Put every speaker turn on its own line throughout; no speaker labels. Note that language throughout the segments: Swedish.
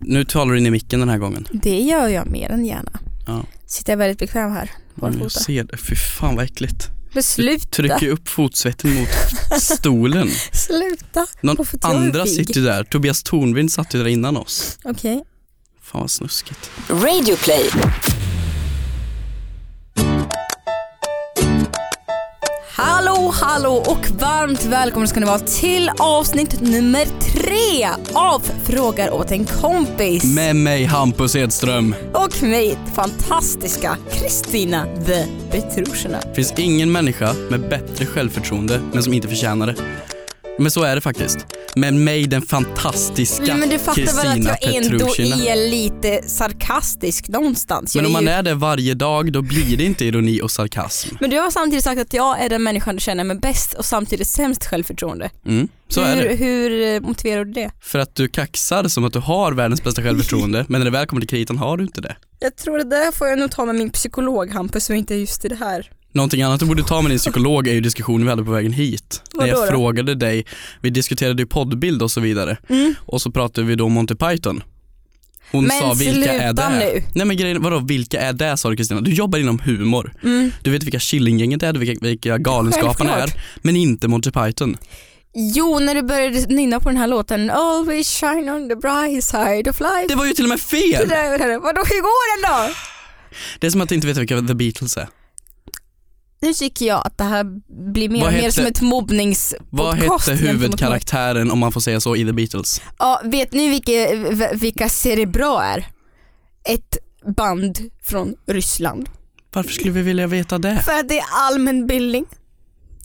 Nu talar du in i micken den här gången.
Det gör jag mer än gärna.
Ja.
Sitter jag väldigt bekväm här.
jag
Barfota.
Mm. ser det. Fy fan vad äckligt.
Men
Trycker
sluta!
ju upp fotsvetten mot stolen.
Sluta!
Någon
Varför tror jag är
andra
pigg?
sitter ju där. Tobias Tornving satt ju där innan oss.
Okej.
Fan vad snuskigt.
Radio play.
Hallå, hallå och varmt välkomna ska ni vara till avsnitt nummer tre av Frågar åt en kompis.
Med mig Hampus Edström.
Och mig, fantastiska Kristina the Petrushina.
Finns ingen människa med bättre självförtroende men som inte förtjänar det. Men så är det faktiskt. Med mig den fantastiska
Men du fattar väl
Kristina
att jag ändå
Petrushina.
är lite sarkastisk någonstans. Jag
Men om
är
man
ju...
är det varje dag då blir det inte ironi och sarkasm.
men du har samtidigt sagt att jag är den människan du känner med bäst och samtidigt sämst självförtroende.
Mm, så är
hur,
det.
hur eh, motiverar du det?
För att du kaxar som att du har världens bästa självförtroende men när det väl kommer till kritan har du inte det.
Jag tror det där får jag nog ta med min psykolog Hampus och inte just i det här.
Någonting annat du borde ta med din psykolog är ju diskussionen vi hade på vägen hit. när jag
Vadå då?
frågade dig, vi diskuterade ju poddbild och så vidare
Mm.
och så pratade vi då om Monty Python. Hon
Men
sa vilka är
sluta
det?
nu.
Nej men grejen, vadå vilka är det sa du Kristina? Du jobbar inom humor.
Mm.
Du vet vilka Killinggänget är, du vet vilka, vilka Galenskaparna är.
Självklart.
Men inte Monty Python.
Jo, när du började nynna på den här låten Always shine on the bright side of life.
Det var ju till och med fel!
Det där, det där. Vadå, hur går den då?
Det är som att inte veta vilka The Beatles är.
Nu tycker jag att det här blir mer
Vad
och mer
hette-
som ett mobbningspodcast.
Vad hette
gentemot mig.
huvudkaraktären om man får säga så i The Beatles?
Ja, vet ni vilka, v- vilka Cerebra är? Ett band från Ryssland.
Varför skulle vi vilja veta det?
För att det är allmänbildning.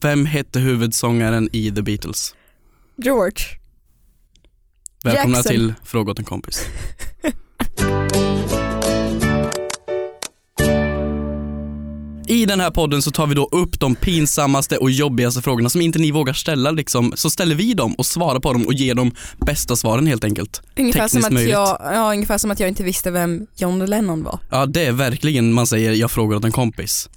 Vem hette huvudsångaren i The Beatles?
George.
Välkomna
Jackson.
till Fråga åt en kompis. I den här podden så tar vi då upp de pinsammaste och jobbigaste frågorna som inte ni vågar ställa liksom. Så ställer vi dem och svarar på dem och ger dem bästa svaren helt enkelt.
Ungefär som,
Tekniskt
att
möjligt.
jag, ja, ungefär som att jag inte visste vem John Lennon var.
Ja det är verkligen man säger jag frågar åt en kompis.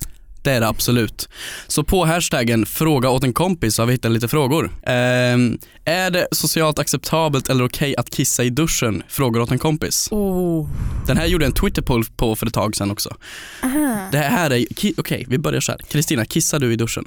Det är det absolut. Så på hashtaggen fråga åt en kompis så har vi hittat lite frågor. Ehm, är det socialt acceptabelt eller okej att kissa i duschen? Frågar åt en kompis.
Oh.
Den här gjorde jag en Twitter-poll på för ett tag sedan också. Det här är, ki- okej vi börjar så här. Kristina, kissar du i duschen?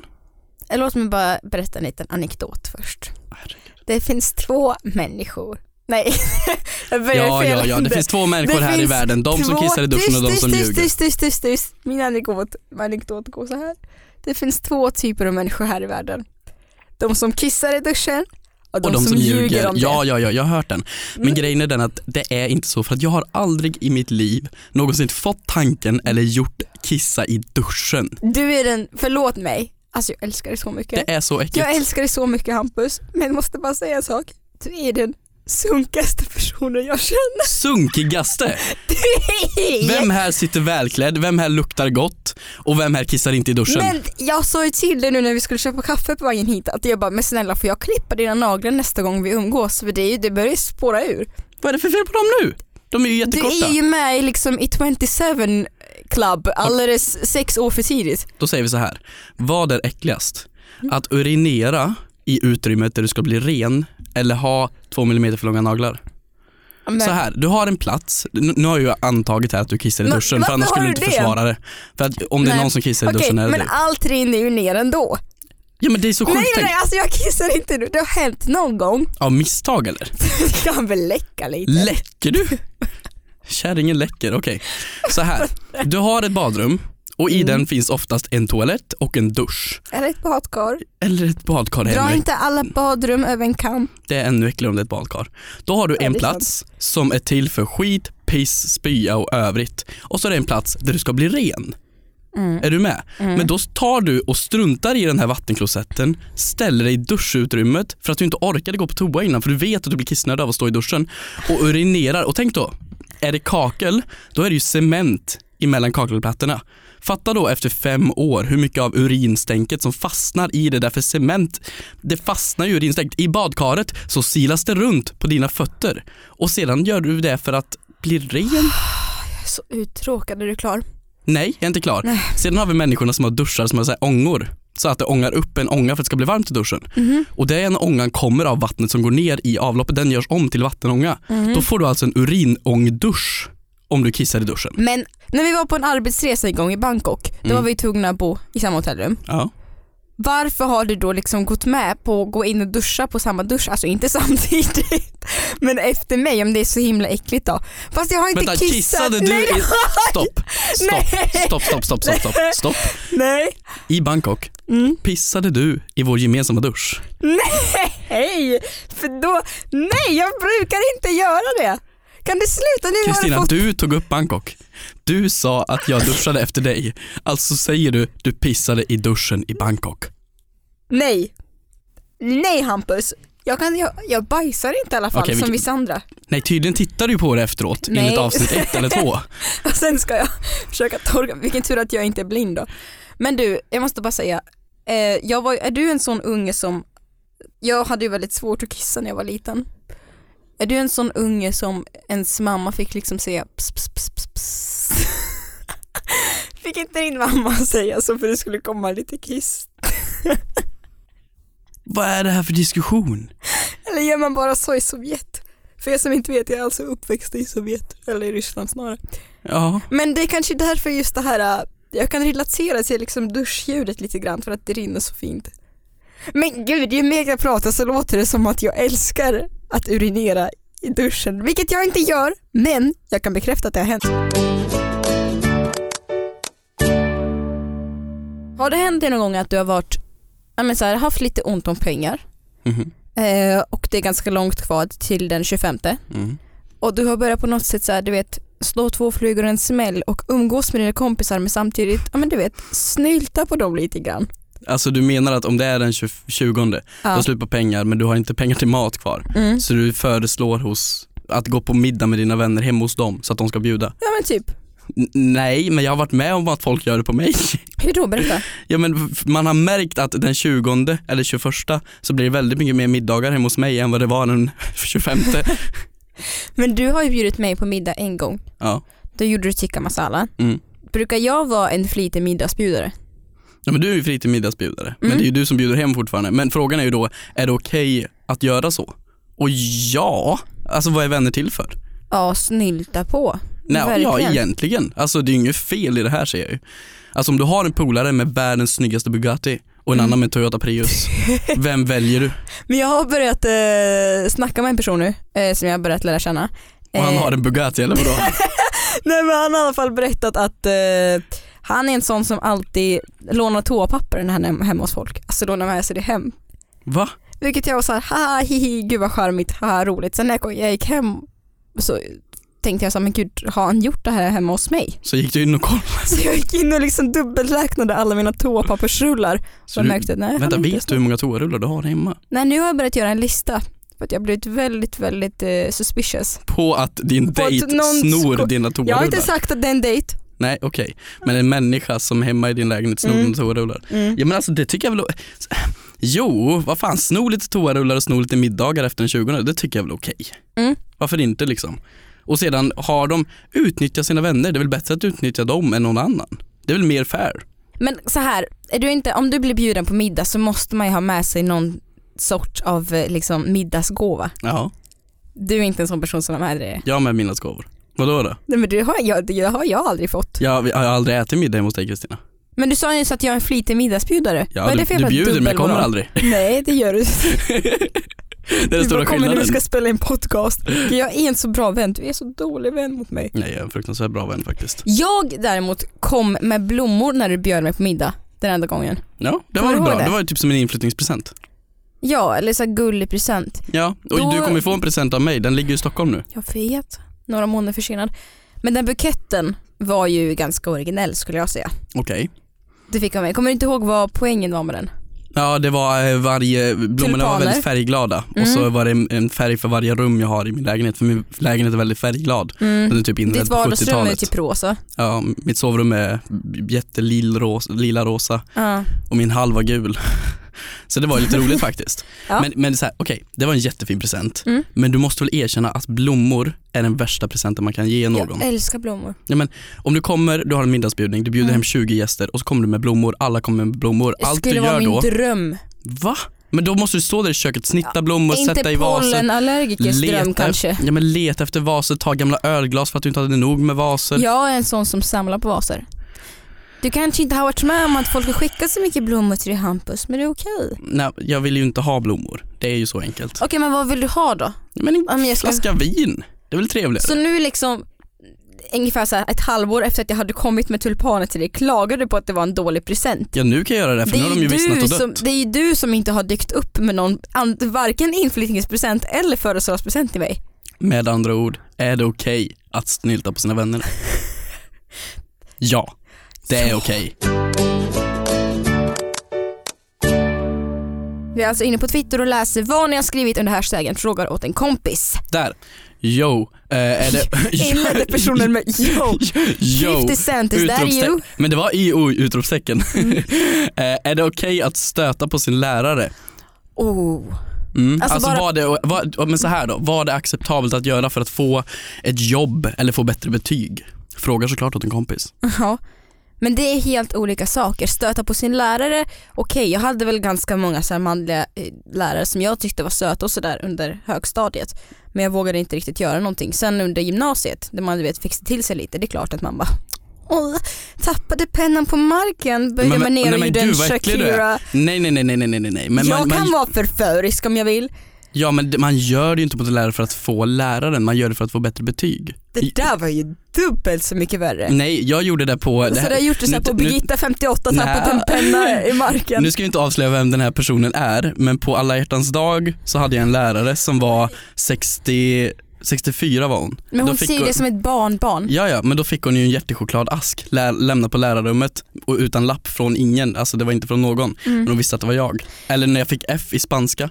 Eh, Låt mig bara berätta en liten anekdot först.
Herregud.
Det finns två människor. Nej, jag börjar
Ja,
fel
ja, ja, det
ände.
finns två människor
Det
här i
finns
världen. De som
två-
kissar i duschen och de
tyst,
som
tyst,
ljuger.
Tyst, tyst, tyst, tyst. Min anekdot, min anekdot går så här. Det finns två typer av människor här i världen. De som kissar i duschen och de,
Och de
som, ljuger. om det. Mm.
Ja, ja, ja, jag har hört den. Men grejen är den att det är inte så för att jag har aldrig i mitt liv någonsin fått tanken eller gjort kissa i duschen.
Du är den, förlåt mig, alltså jag älskar dig så mycket.
Det är så äckligt.
Jag älskar dig så mycket Hampus, men måste bara säga en sak. Du är den sunkaste personen jag känner.
Sunkigaste! Vem här sitter välklädd, vem här luktar gott och vem här kissar inte i duschen?
Men jag sa ju till dig nu när vi skulle köpa kaffe på vägen hit att jag bara, men snälla får jag klippa dina naglar nästa gång vi umgås? För det, är ju, det börjar ju spåra ur.
Vad är det för fel på dem nu? De är ju
Du
jättekorta.
är ju med i liksom i 27 club alldeles sex år för tidigt.
Då säger vi så här. Vad är äckligast? Att urinera i utrymmet där du ska bli ren eller ha två millimeter för långa naglar?
Men,
Så här, du har en plats, nu nu har jag ju antagit här att du kissar i
Men
duschen för
varför
annars
har
skulle du
du
inte
det?
försvara det. För att om det är
Nej.
någon som kissar i
Okej,
duschen är det
men
du.
allt rinner ju ner ändå.
Ja men det är så
Nej
sjukt
nej
tänkt.
nej, alltså jag kissar inte nu. Det har hänt någon gång.
Av misstag eller?
Det kan väl läcka lite.
Läcker du? Kärringen läcker, okej. Så här, du har ett badrum och
Mm.
i den finns oftast en toalett och en dusch.
Är det ett badkar?
Eller ett badkar
Dra
Henrik.
inte alla badrum över en kam.
Det är ännu äckligare om det är ett badkar. Då har du en
det är
plats som är till för skit, piss, spya och övrigt. Och så är det en plats där du ska bli ren.
Mm.
Är du med? Men då tar du och struntar i den här vattenklosetten, ställer dig i duschutrymmet för att du inte orkade gå på toa innan för du vet att du blir kissnödig av att stå i duschen och urinerar. Och tänk då, är det kakel, då är det ju cement emellan kakelplattorna. Fatta då efter fem år hur mycket av urinstänket som fastnar i det där för cement, det fastnar ju i urinstänket. I badkaret så silas det runt på dina fötter och sedan gör du det för att bli ren
Jag är så uttråkad, är du klar?
Nej, jag är inte klar. Sedan har vi människorna som har duschar som har så här ångor. så att det ångar upp en ånga för att det ska bli varmt i duschen. Och den ångan kommer av vattnet som går ner i avloppet, den görs om till vattenånga. Då får du alltså en urinångdusch om du kissar i duschen.
Men när vi var på en arbetsresa en gång i Bangkok, då
Mm.
var vi tvungna att bo i samma hotellrum.
Ja.
Varför har du då liksom gått med på att gå in och duscha på samma dusch? Alltså inte samtidigt, men efter mig om det är så himla äckligt då. Fast jag har inte
Vänta,
kissat.
kissade du
Nej,
i... Stopp, stopp,
Nej.
stopp, stopp, stopp, stopp, stopp, stopp.
nej.
I Bangkok,
Mm.
pissade du i vår gemensamma dusch?
Hej! För då, nej jag brukar inte göra det. Kan du sluta nu? har du
Kristina,
fått...
du tog upp Bangkok. Du sa att jag duschade efter dig. Alltså säger du, du pissade i duschen i Bangkok.
Nej. Nej Hampus. Jag, kan, jag, jag bajsar inte i alla fall
Okej, vi
som
kan-
vissa andra.
Nej, tydligen tittar du på det efteråt
Nej.
enligt avsnitt ett eller två.
Och sen ska jag försöka torka, vilken tur att jag inte är blind då. Men du, jag måste bara säga, eh, jag var, är du en sån unge som, jag hade ju väldigt svårt att kissa när jag var liten. Är du en sån unge som ens mamma fick liksom säga ps, ps, ps, ps, ps. Fick inte din mamma säga så för det skulle komma lite kiss?
Vad är det här för diskussion?
Eller gör man bara så i Sovjet? För er som inte vet, jag är alltså uppväxt i Sovjet, eller i Ryssland snarare.
Ja,
Men det är kanske därför just det här, äh, jag kan relatera till liksom duschljudet lite grann för att det rinner så fint. Men gud, ju mer jag pratar så låter det som att jag älskar att urinera i duschen, vilket jag inte gör, men jag kan bekräfta att det har hänt. Har det hänt dig någon gång att du har varit, ja, men så här, haft lite ont om pengar
Mhm.
eh, och det är ganska långt kvar till den 25
mm.
och du har börjat på något sätt så här, du vet, slå två flugor i en smäll och umgås med dina kompisar men samtidigt, ja men du vet, snylta på dem lite grann.
Alltså du menar att om det är den 20, 20 du har
Ja.
slut på pengar men du har inte pengar till mat kvar.
Mm.
Så du föreslår hos att gå på middag med dina vänner hemma hos dem så att de ska bjuda?
ja men typ.
N- nej, men jag har varit med om att folk gör det på mig.
Hur då? Berätta.
Ja, men f- man har märkt att den 20 eller 21 så blir det väldigt mycket mer middagar hemma hos mig än vad det var den 25.
Men du har ju bjudit mig på middag en gång.
Ja.
Då gjorde du tikka masala.
Mm.
Brukar jag vara en flitig middagsbjudare?
Ja, men du är ju fri till middagsbjudare, men
Mm.
det är ju du som bjuder hem fortfarande. Men frågan är ju då, är det okej att göra så? Och ja, alltså vad är vänner till för?
Ja, snylta på.
Nej, ja,
Verkligen.
egentligen. Alltså det är ju inget fel i det här säger jag ju. Alltså om du har en polare med världens snyggaste Bugatti och en
Mm.
annan med Toyota Prius, vem väljer du?
Men jag har börjat eh, snacka med en person nu eh, som jag har börjat lära känna.
Och han
Eh,
har en Bugatti eller vadå?
Nej men han har i alla fall berättat att eh, han är en sån som alltid lånar toapapper när han är hemma hos folk. Alltså lånar med sig det hem.
Va?
Vilket jag var såhär, haha hihi, gud vad charmigt, haha roligt. Sen när jag kom- jag gick hem så tänkte jag såhär, men gud har han gjort det här hemma hos mig?
Så gick du in och kollade?
Så jag gick in och liksom dubbelräknade alla mina toapappersrullar
Så
och
du-
märkte, nej han
Vänta,
har inte
vet du hur många toarullar du har hemma?
Nej nu har jag börjat göra en lista för att jag har blivit väldigt, väldigt eh, suspicious.
På att din
På att
dejt
någon
snor
sko-
dina
Jag har inte
toarullar?
sagt att det är en dejt.
Nej, okej. Men en människa som hemma i din lägenhet snor
Mm.
dina toarullar? Ja men alltså det tycker jag väl Jo, vad fan, sno lite toarullar och sno lite middagar efter den 20 det tycker jag väl är okej.
Mm.
Varför inte liksom? Och sedan har de, utnyttja sina vänner, det är väl bättre att utnyttja dem än någon annan. Det är väl mer fair?
Men så här, är du inte, om du blir bjuden på middag så måste man ju ha med sig någon sort av eh, liksom, middagsgåva.
Ja,
Du är inte en sån person som eh, har med dig det.
jag har med mina gåvor. Vadå då?
Nej men det har jag, det har jag aldrig fått.
Jag, jag har aldrig ätit middag hemma hos dig Kristina.
Men du sa ju så att jag är en flitig middagsbjudare.
Ja,
Vad är
du,
det för
du
jävla
bjuder men jag kommer
dubbelmoral?
aldrig.
Nej det gör du inte.
Det är den
Du
stora
bara kommer när
skillnaden.
du ska spela en podcast. Jag är en så bra vän, du är så dålig vän mot mig.
Nej, jag är en fruktansvärt bra vän faktiskt.
Jag däremot kom med blommor när du bjöd mig på middag den enda gången.
Ja, det
Kommer
var väl
du ihåg
bra.
det?
Det? var ju typ som en inflyttningspresent.
Ja, eller så här gullig present.
Ja, och
Då-
du kommer få en present av mig. Den ligger i Stockholm nu.
Jag vet, några månader försenad. Men den buketten var ju ganska originell skulle jag säga.
Okej.
Du fick av mig. Kommer du inte ihåg vad poängen var med den?
Ja det var eh, varje, blommorna var
Tulpaner. Mm.
väldigt färgglada och så var det en- en färg för varje rum jag har i min lägenhet för min lägenhet är väldigt färgglad. Den är typ inredd
Ditt
på
vardagsrum är
70-talet.
typ rosa.
Ja, mitt sovrum är jättelila rosa, lila rosa
Ja.
och min halva gul. Så det var ju lite roligt faktiskt.
Ja.
Men, men det är så här, okej, det var en jättefin present.
Mm.
Men du måste väl erkänna att blommor är den värsta presenten man kan ge någon.
Jag älskar blommor.
Ja, men, om du kommer, du har en middagsbjudning, du bjuder
Mm.
hem 20 gäster och så kommer du med blommor, alla kommer med blommor.
Det
Allt du
skulle vara
gör
min
då,
dröm.
va? Men då måste du stå där i köket, snitta blommor, sätta i
Inte
vasen.
pollenallergikers dröm kanske.
efter, ja, men leta efter vaser, ta gamla ölglas för att du inte hade nog med vaser.
Jag är en sån som samlar på vaser. Du kanske inte har varit med om att folk har skickat så mycket blommor till dig Hampus, men det är okej.
Nej, jag vill ju inte ha blommor. Det är ju så enkelt.
Okej men vad vill du ha då?
Men en
Ja, men jag ska-
flaska vin, det är väl trevligare?
Så nu liksom ungefär så här ett halvår efter att jag hade kommit med tulpaner till dig klagade du på att det var en dålig present.
Ja nu kan jag göra det för
Det
nu har de
är,
ju vissnat
du
och dött.
som, det är ju du som inte har dykt upp med någon, an, varken inflyttningspresent eller födelsedagspresent till mig.
Med andra ord, är det okej att snylta på sina vänner? ja, det är okej.
Vi är alltså inne på Twitter och läser vad ni har skrivit under hashtaggen frågar åt en kompis.
Där. Yo, eh, är det...
Inledde personen med yo.
Yo,
50 cent, is that
utropste-
you?
Men det var IO i utropstecken.
Mm.
Eh, är det okej att stöta på sin lärare?
Oh.
Mm.
Alltså
Alltså
bara-
var det, var, men så här då, var det acceptabelt att göra för att få ett jobb eller få bättre betyg? Frågar såklart åt en kompis.
Ja. Men det är helt olika saker. Stöta på sin lärare, okej jag hade väl ganska många så här manliga eh, lärare som jag tyckte var söta och sådär under högstadiet. Men jag vågade inte riktigt göra någonting. Sen under gymnasiet, där man du vet fixade till sig lite, det är klart att man bara Åh, tappade pennan på marken, böjde
Men-
mig ner
nej,
och
men
gjorde en
gud, vad äcklig du är.
Shakira.
Nej nej nej nej nej nej nej. Men
jag
man,
kan
man,
vara förförisk om jag vill.
ja men det- man gör det ju inte på sin lärare för att få läraren, man gör det för att få bättre betyg. I-
Det där var ju dubbelt så mycket värre.
Nej, jag gjorde det på...
så du har gjort det så här
nu-
på
nu-
Birgitta 58, tappat
Nej.
en penna i marken.
Nu ska vi inte avslöja vem den här personen är, men på alla hjärtans dag så hade jag en lärare som var 60, 64 var hon.
Men
Då
hon
fick
säger det som ett barnbarn.
Ja, ja, men då fick hon ju en jättechokladask lä- lämna på lärarrummet och utan lapp från ingen, alltså det var inte från någon,
Mm.
men hon visste att det var jag. Eller när jag fick F i spanska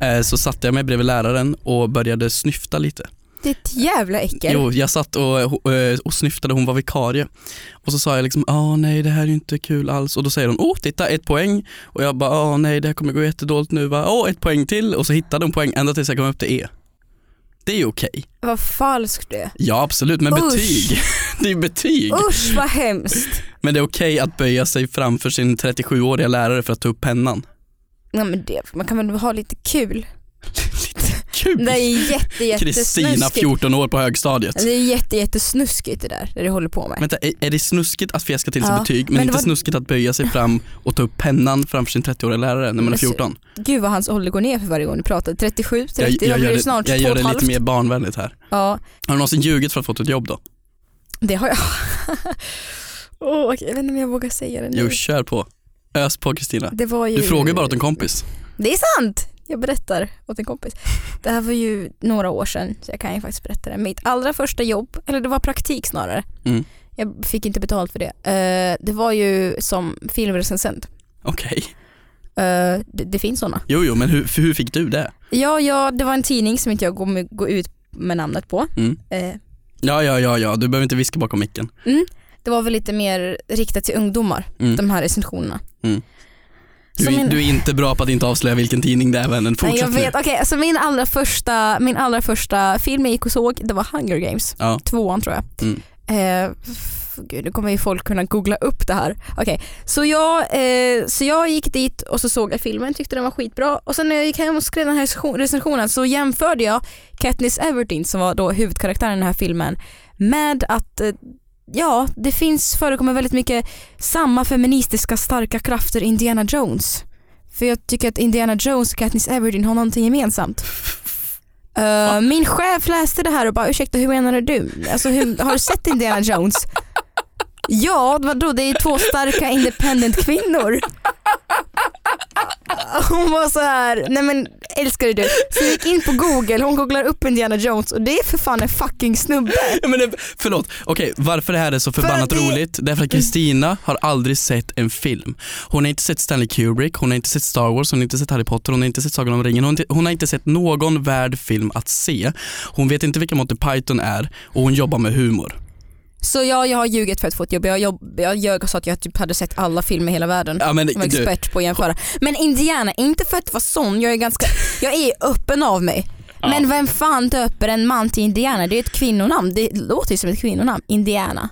eh, så satte jag mig bredvid läraren och började snyfta lite.
Det är ett jävla äckel.
Jo, jag satt och, eh, och snyftade, hon var vikarie. Och så sa jag liksom, ah nej det här är ju inte kul alls. Och då säger hon, åh titta ett poäng. Och jag bara, ah nej det här kommer gå jättedåligt nu va. Åh ett poäng till. Och så hittade hon poäng ända tills jag kom upp till E. Det är ju okej.
Vad falskt det är.
Ja absolut, men
Usch.
betyg. det är ju betyg.
Usch vad hemskt.
Men det är okej att böja sig framför sin 37-åriga lärare för att ta upp pennan.
Nej, men det, man kan väl ha lite kul.
Kul!
Det är jätte,
Kristina,
jättesnuskigt.
14 år på högstadiet.
Det är jätte, jättesnuskigt det där, det du håller på med.
Vänta, är är det snuskigt att fjäska till sig
Ja,
betyg men,
men det
inte
var-
snuskigt att böja sig fram och ta upp pennan framför sin 30-åriga lärare när man är
Men så-
14?
Gud vad hans ålder går ner för varje gång du pratar. 37, 30, då blir
gör
det snart
jag gör det
2,5.
lite mer barnvänligt här.
Ja,
Har du någonsin ljugit för att få ett jobb då?
det har jag. Åh, okej, jag vet inte om jag vågar säga det nu.
Jo, kör på. Ös på Kristina.
Det var ju...
Du frågar ju bara åt en kompis.
Det är sant! Jag berättar åt en kompis. Det här var ju några år sedan så jag kan ju faktiskt berätta det. Mitt allra första jobb, eller det var praktik snarare.
Mm.
Jag fick inte betalt för det. Eh, det var ju som filmrecensent.
Okej.
Eh, det, det finns sådana.
Jo, jo, men hur, för hur fick du det?
Ja, ja, det var en tidning som inte jag kommer gå ut med namnet på.
Mm.
Eh,
Ja, ja, ja, ja, du behöver inte viska bakom micken.
det var väl lite mer riktat till ungdomar,
Mm.
de här recensionerna.
Mm. Du,
Så
är-
min-
du är inte bra på att inte avslöja vilken tidning det är vännen.
Nej, jag
Fortsätt
vet,
nu.
okej, alltså min allra första, min allra första film jag gick och såg, det var Hunger Games.
Ja.
Tvåan tror jag.
Mm.
Eh, f- gud, nu kommer ju folk kunna googla upp det här. Okej, så, jag, eh, så jag gick dit och så såg jag filmen, tyckte den var skitbra och sen när jag gick hem och skrev den här recension- recensionen så jämförde jag Katniss Everdeen som var då huvudkaraktären i den här filmen med att eh, ja, det finns, förekommer väldigt mycket samma feministiska starka krafter i Indiana Jones. För jag tycker att Indiana Jones och Katniss Everdeen har någonting gemensamt. Eh, min chef läste det här och bara ursäkta hur menar du? Alltså, hur, har du sett Indiana Jones? Ja, vadå det är två starka independent kvinnor. Hon var så här, nej men älskade du. Så jag gick in på google, hon googlar upp Indiana Jones och det är för fan en fucking snubbe.
Ja, Men det, förlåt, okej varför det här är så
att
förbannat
det-
roligt, det är för att Kristina har aldrig sett en film. Hon har inte sett Stanley Kubrick, hon har inte sett Star Wars, hon har inte sett Harry Potter, hon har inte sett Sagan om ringen, hon, har inte- hon har inte sett någon värd film att se. Hon vet inte vilka Monty Python är och hon jobbar med humor.
Så ja, jag har ljugit för att få ett jobb. Jag, jobb, jag ljög och sa att jag typ hade sett alla filmer i hela världen.
Ja, men
Jag var
du,
expert på att jämföra. Men Indiana, inte för att vara sån, jag är ganska, jag är öppen av mig.
Ja.
Men vem fan döper en man till Indiana? Det är ett kvinnonamn, det låter ju som ett kvinnonamn, Indiana.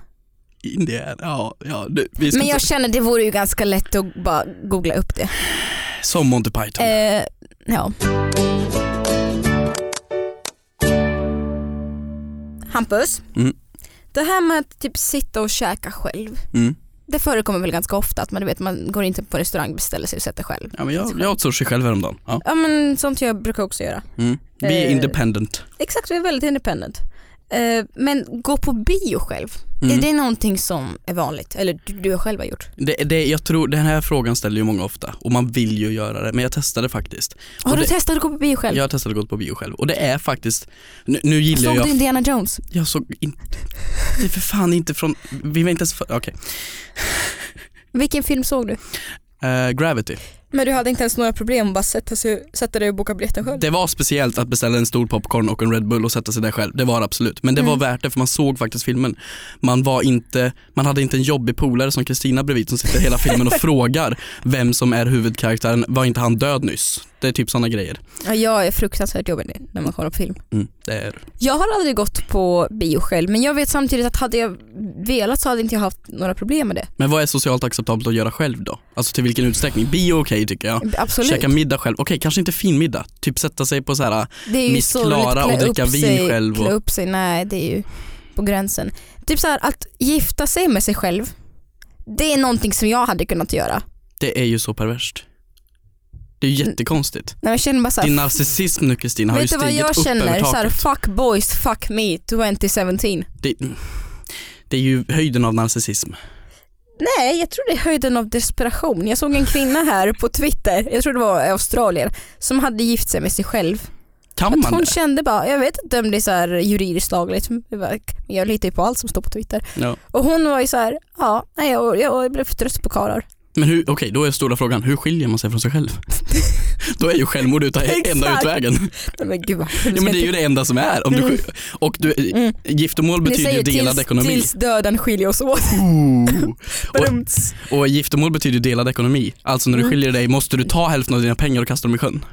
Indien, ja, ja, du, vi ska
Men jag
inte,
känner det vore ju ganska lätt att bara googla upp det.
som Monty Python.
Eh, ja. Hampus,
Mm.
det här med att typ sitta och käka själv,
Mm.
det förekommer väl ganska ofta att man, du vet, man går inte på restaurang, beställer sig och sätter själv.
Ja, men jag, jag åt sushi själv häromdagen. Ja.
Ja men sånt jag brukar också göra.
Mm. Vi är
Eh,
independent.
Exakt, vi är väldigt independent. Eh, Men gå på bio själv, är
Mm.
det någonting som är vanligt? Eller du, du själv har gjort?
Det, det, jag tror, den här frågan ställer ju många ofta och man vill ju göra det men jag testade faktiskt.
Har
Och
du
det-
testat att gå på bio själv?
Jag har testat att gå på bio själv och det är faktiskt, nu, nu gillar
Såg
jag,
du Indiana Jones?
jag såg inte, det är för fan inte från, vi var inte ens, för- okej,
Vilken film såg du?
Eh, Gravity.
Men du hade inte ens några problem att bara sätta, sig, sätta dig och boka biljetten själv?
Det var speciellt att beställa en stor popcorn och en Red Bull och sätta sig där själv, det var det absolut. Men det var
Mm.
värt det för man såg faktiskt filmen. Man var inte, man hade inte en jobbig polare som Kristina bredvid som sitter hela filmen och frågar vem som är huvudkaraktären, var inte han död nyss? Det är typ sådana grejer.
Ja, jag är fruktansvärt jobbig när man kollar på film.
Mm, det är
Jag har aldrig gått på bio själv men jag vet samtidigt att hade jag velat så hade inte jag haft några problem med det.
Men vad är socialt acceptabelt att göra själv då? Alltså till vilken utsträckning? Bio okej tycker jag.
Absolut.
Käka middag själv, okej kanske inte fin middag. Typ sätta sig på så här.
det är ju
Miss
sorgligt.
Klara
Klä
och dricka
upp
vin
sig,
själv och-
Klä upp sig, nej det är ju på gränsen. Typ så här att gifta sig med sig själv, det är någonting som jag hade kunnat göra.
det är ju så perverst. Det är ju jättekonstigt.
Nej, jag känner Mm. bara så här,
Din narcissism nu Kristina har ju
vet du vad
stigit
jag
upp över
känner? Så här,
taket.
fuck boys, fuck me 2017.
det, det är ju höjden av narcissism.
Nej, jag tror det är höjden av desperation. Jag såg en kvinna här på Twitter, jag tror det var australier, som hade gift sig med sig själv.
Kan
Att
man
hon
det?
kände bara, jag vet inte om det är så här juridiskt lagligt, men jag litar ju på allt som står på Twitter.
Ja.
Och hon var ju så här, ja, nej, jag, jag, jag blev för trött på karlar.
Men hur, okej, då är stora frågan, hur skiljer man sig från sig själv? då är ju självmord utan enda
Exakt.
utvägen.
Nej, Men gud vad
Ja, men det är ju det enda som är. Om du, och du,
Mm.
Giftermål
Ni
betyder ju
säger
delad
tills,
ekonomi.
Tills döden skiljer oss åt.
Ooh.
Badumts.
Och giftermål betyder ju delad ekonomi. Alltså när du
Mm.
skiljer dig måste du ta hälften av dina pengar och kasta dem i sjön.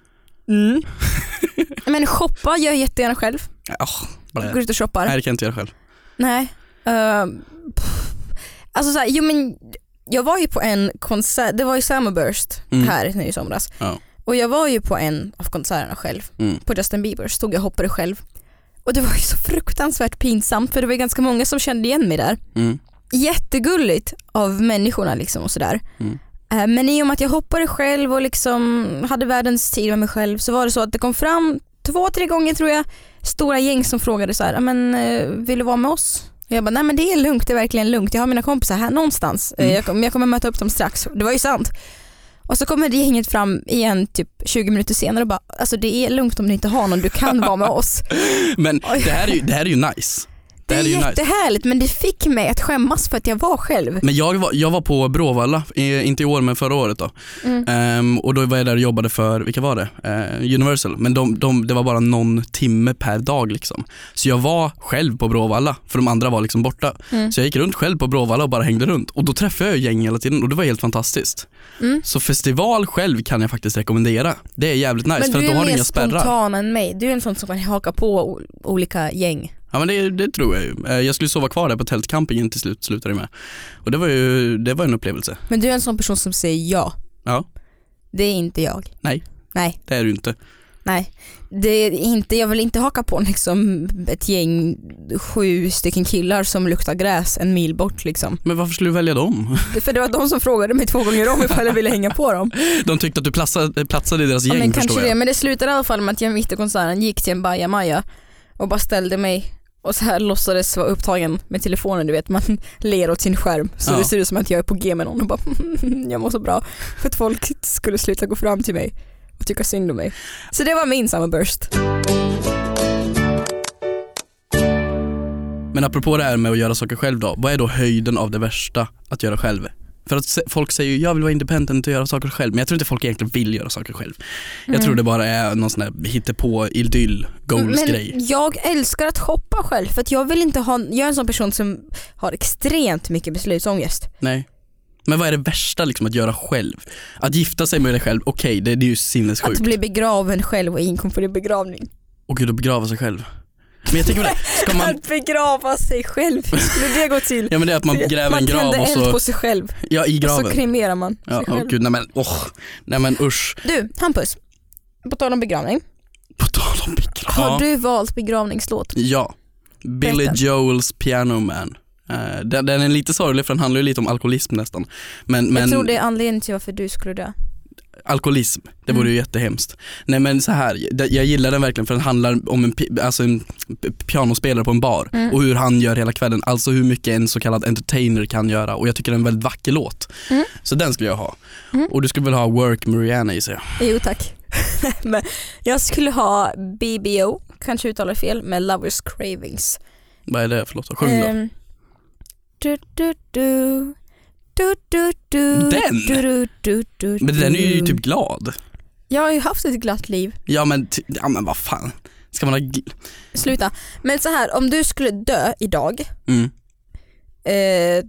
Mm. men shoppa gör jag jättegärna själv.
Oh, bara,
Går ut och shoppar.
nej, det kan jag inte göra själv.
Nej. Ehm, pff. alltså så här, jo men jag var ju på en konsert, det var ju Summerburst
Mm.
här nu i somras.
Ja.
Och jag var ju på en av konserterna själv,
Mm.
på Justin Bieber, stod jag och hoppade själv. Och det var ju så fruktansvärt pinsamt för det var ju ganska många som kände igen mig där.
Mm.
Jättegulligt av människorna liksom och sådär.
Mm.
Eh, Men i och med att jag hoppade själv och liksom hade världens tid med mig själv så var det så att det kom fram två, tre gånger tror jag stora gäng som frågade så här, "Ja, men eh, vill du vara med oss? Och jag bara, nej men det är lugnt, det är verkligen lugnt. Jag har mina kompisar här någonstans. Eh,
Mm.
Jag, kommer, jag kommer möta upp dem strax. Det var ju sant. Och så kommer det gänget fram igen typ 20 minuter senare och bara, alltså det är lugnt om du inte har någon, du kan vara med oss.
Men
Oj.
det här, är ju, det här är ju nice.
Det är,
här ju nice. Mm.
jättehärligt men det fick mig att skämmas för att jag var själv.
Men jag var, jag var på Bråvalla, eh, inte i år men förra året då.
Mm.
Ehm, och då var jag där och jobbade för, vilka var det? Eh, Universal. Men de, de, det var bara någon timme per dag liksom. Så jag var själv på Bråvalla, för de andra var liksom borta.
Mm.
Så jag gick runt själv på Bråvalla och bara hängde runt. Och då träffade jag ju gäng hela tiden och det var helt fantastiskt.
Mm.
Så festival själv kan jag faktiskt rekommendera. Det är jävligt nice
Men
för
du
att då
är
har du
mer
inga spärrar.
spontan än mig. Du är en sån som kan haka på o- olika gäng.
Ja men det, det tror jag ju. Eh, Jag skulle sova kvar där på tältcampingen till slut, slutade det med. Och det var ju det var en upplevelse.
Men du är en sån person som säger ja.
Ja,
Det är inte jag.
Nej.
Nej,
det är du inte.
nej. Det är inte, jag vill inte haka på liksom ett gäng sju stycken killar som luktar gräs en mil bort liksom.
Men varför skulle du välja dem?
För det var de som frågade mig två gånger om ifall jag ville hänga på dem.
De tyckte att du platsade, platsade i deras
Ja,
gäng
men
förstår
kanske
jag.
det, men det slutade i alla fall med att jag mitt i konserten gick till en bajamaja och bara ställde mig och så här låtsades vara upptagen med telefonen, du vet man ler åt sin skärm så
Ja.
det ser ut som att jag är på G med någon och bara jag mår så bra för att folk skulle sluta gå fram till mig och tycka synd om mig. Så det var min summerburst.
Men apropå det här med att göra saker själv då, vad är då höjden av det värsta att göra själv? För att se- folk säger ju jag vill vara independent och göra saker själv men jag tror inte folk egentligen vill göra saker själv. Jag tror det bara är någon sån där hittepå idyll goals grej.
Mm. Men jag älskar att shoppa själv för att jag vill inte ha, jag är en sån person som har extremt mycket beslutsångest.
Nej. Men vad är det värsta liksom att göra själv? Att gifta sig med dig själv, okej det, det är ju sinnessjukt.
Att bli begraven själv och inkom på din begravning.
Och gud att begrava sig själv. Men jag tänker på det, ska man,
Att begrava sig själv, hur skulle det gå till?
ja men det är att man gräver en grav
tänder
och
eld
så,
på sig själv
ja i
och så
graven.
kremerar man
Ja,
sig
åh
själv.
gud, nej men åh, nej men usch.
Du, Hampus. På tal om begravning.
På tal om
Har
begravning.
du valt begravningslåt?
Ja. Billy
Berätta.
Joels Piano Man. Eh, den, den är lite sorglig för den handlar ju lite om alkoholism nästan. Men, men
Jag tror det är anledningen till varför du skulle dö.
alkoholism, det vore
Mm.
ju jättehemskt. Nej men så här, det- jag gillar den verkligen för den handlar om en, pi- alltså en p- pianospelare på en bar
Mm.
och hur han gör hela kvällen, alltså hur mycket en så kallad entertainer kan göra och jag tycker det är en väldigt vacker låt.
Mm.
Så den skulle jag ha.
Mm.
Och du skulle väl ha Work Mariana gissar jag.
Jo tack. Men jag skulle ha BBO, kanske uttalar jag fel, med Lovers Cravings.
Vad är det för låt? Sjung då.
Ehm, du, du, du. Du, du, du.
Den?
Du, du, du, du,
Men den är ju
du.
typ glad.
Jag har ju haft ett glatt liv.
Ja men, ty- ja, men vad fan. Ska man ha... gl-
Sluta. Men så här, om du skulle dö idag,
Mm.
eh,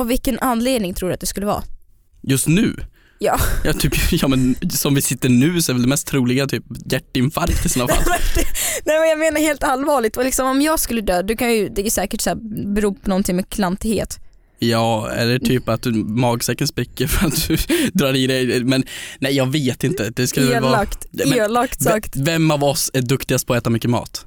av vilken anledning tror du att det skulle vara?
Just nu?
Ja.
Ja, typ, ja men som vi sitter nu så är väl det mest troliga typ hjärtinfarkt i sådana fall.
Nej men jag menar helt allvarligt, Och liksom, om jag skulle dö, du kan ju, det är säkert så här, bero på någonting med klantighet.
Ja, eller typ att du, magsäcken spricker för att du drar i dig. Men nej jag vet inte. Det skulle väl vara...
Elakt,
Nej, men-
elakt
Ve-
sagt.
Vem av oss är duktigast på att äta mycket mat?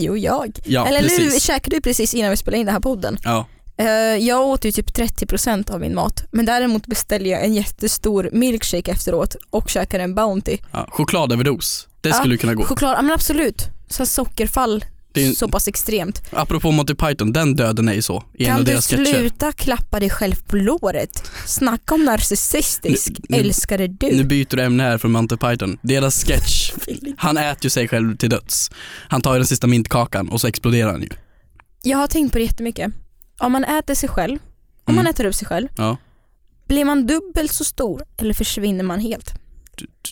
Jo jag.
Ja,
Eller nu
precis.
käkade du precis innan vi spelade in den här podden.
Ja.
Eh, jag åt ju typ 30% av min mat men däremot beställde jag en jättestor milkshake efteråt och käkade en Bounty.
ja. Chokladöverdos. Det
Ja,
skulle kunna gå.
Choklad, ja men absolut. Så här sockerfall
Oh. Det är ju-
så pass extremt.
Apropå Monty Python, den döden är ju så i en
Kan
av
du
deras sketcher.
sluta klappa dig själv på låret? Snacka om narcissistisk,
Nu- nu-
älskade du.
Nu byter du ämne här från Monty Python. Deras sketch, han äter ju sig själv till döds. Han tar ju den sista mintkakan och så exploderar han ju.
Jag har tänkt på det jättemycket. Om man äter sig själv, om man
Mm.
äter upp sig själv,
Ja.
blir man dubbelt så stor eller försvinner man helt?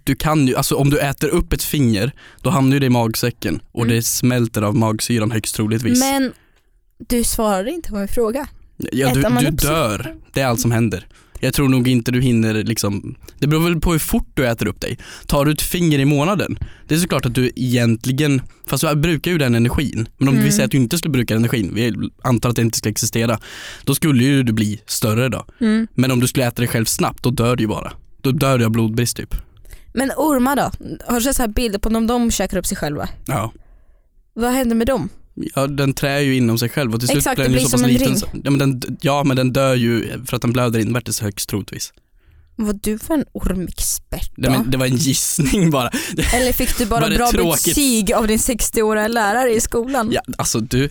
du kan ju, alltså om du äter upp ett finger, då hamnar ju det i magsäcken och
Mm.
det smälter av magsyran högst troligtvis.
Men du svarade inte på min fråga.
ja,
äter man
du du
upp så-
dör, det är allt som händer. Jag tror nog inte du hinner liksom, det beror väl på hur fort du äter upp dig. Tar du ett finger i månaden, det är såklart att du egentligen, fast du brukar ju den energin. Men om vi
Mm.
säger att du inte skulle bruka den energin, vi antar att det inte skulle existera, då skulle ju du bli större då.
Mm.
Men om du skulle äta dig själv snabbt, då dör du ju bara. Då dör du av blodbrist typ.
Men ormar då? Har du sett så här bilder på dem de käkar upp sig själva?
Ja.
Vad händer med dem?
Ja, den trär ju inom sig själv och till slut
Exakt,
blir
det
den ju
blir
så pass
som en
liten.
ring.
så- Ja men, den, ja men den dör ju för att den blöder invärtes högst troligtvis.
Vad du för en ormexpert då?
Det, men, det var en gissning bara.
Eller fick du
Var
bara
det
bra
tråkigt?
betyg av din 60-åriga lärare i skolan?
Ja, alltså du,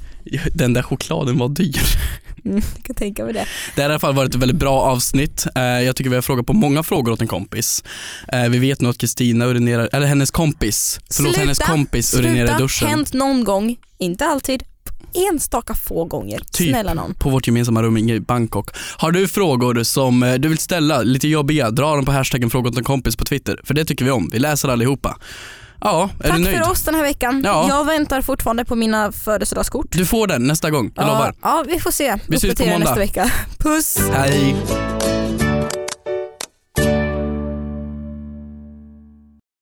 den där chokladen var dyr.
Mm, jag kan tänka mig det.
Det här har i alla fall varit ett väldigt bra avsnitt. Eh, Jag tycker vi har frågat på många frågor åt en kompis. Eh, Vi vet nu att Kristina urinerar, eller hennes kompis, förlåt
Sluta!
hennes kompis urinerar i duschen.
hänt någon gång, inte alltid, enstaka få gånger.
Typ.
Snälla någon.
på vårt gemensamma rum i Bangkok. Har du frågor som eh, du vill ställa, lite jobbiga, dra dem på hashtaggen fråga åt en kompis på Twitter. För det tycker vi om, vi läser allihopa. Ja, är
Tack
du nöjd?
för oss den här veckan.
Ja.
Jag väntar fortfarande på mina födelsedagskort.
Du får den nästa gång, jag lovar.
Ja, ja, vi får se.
Vi ses på
Uppdatera
måndag.
nästa vecka. Puss!
Hej!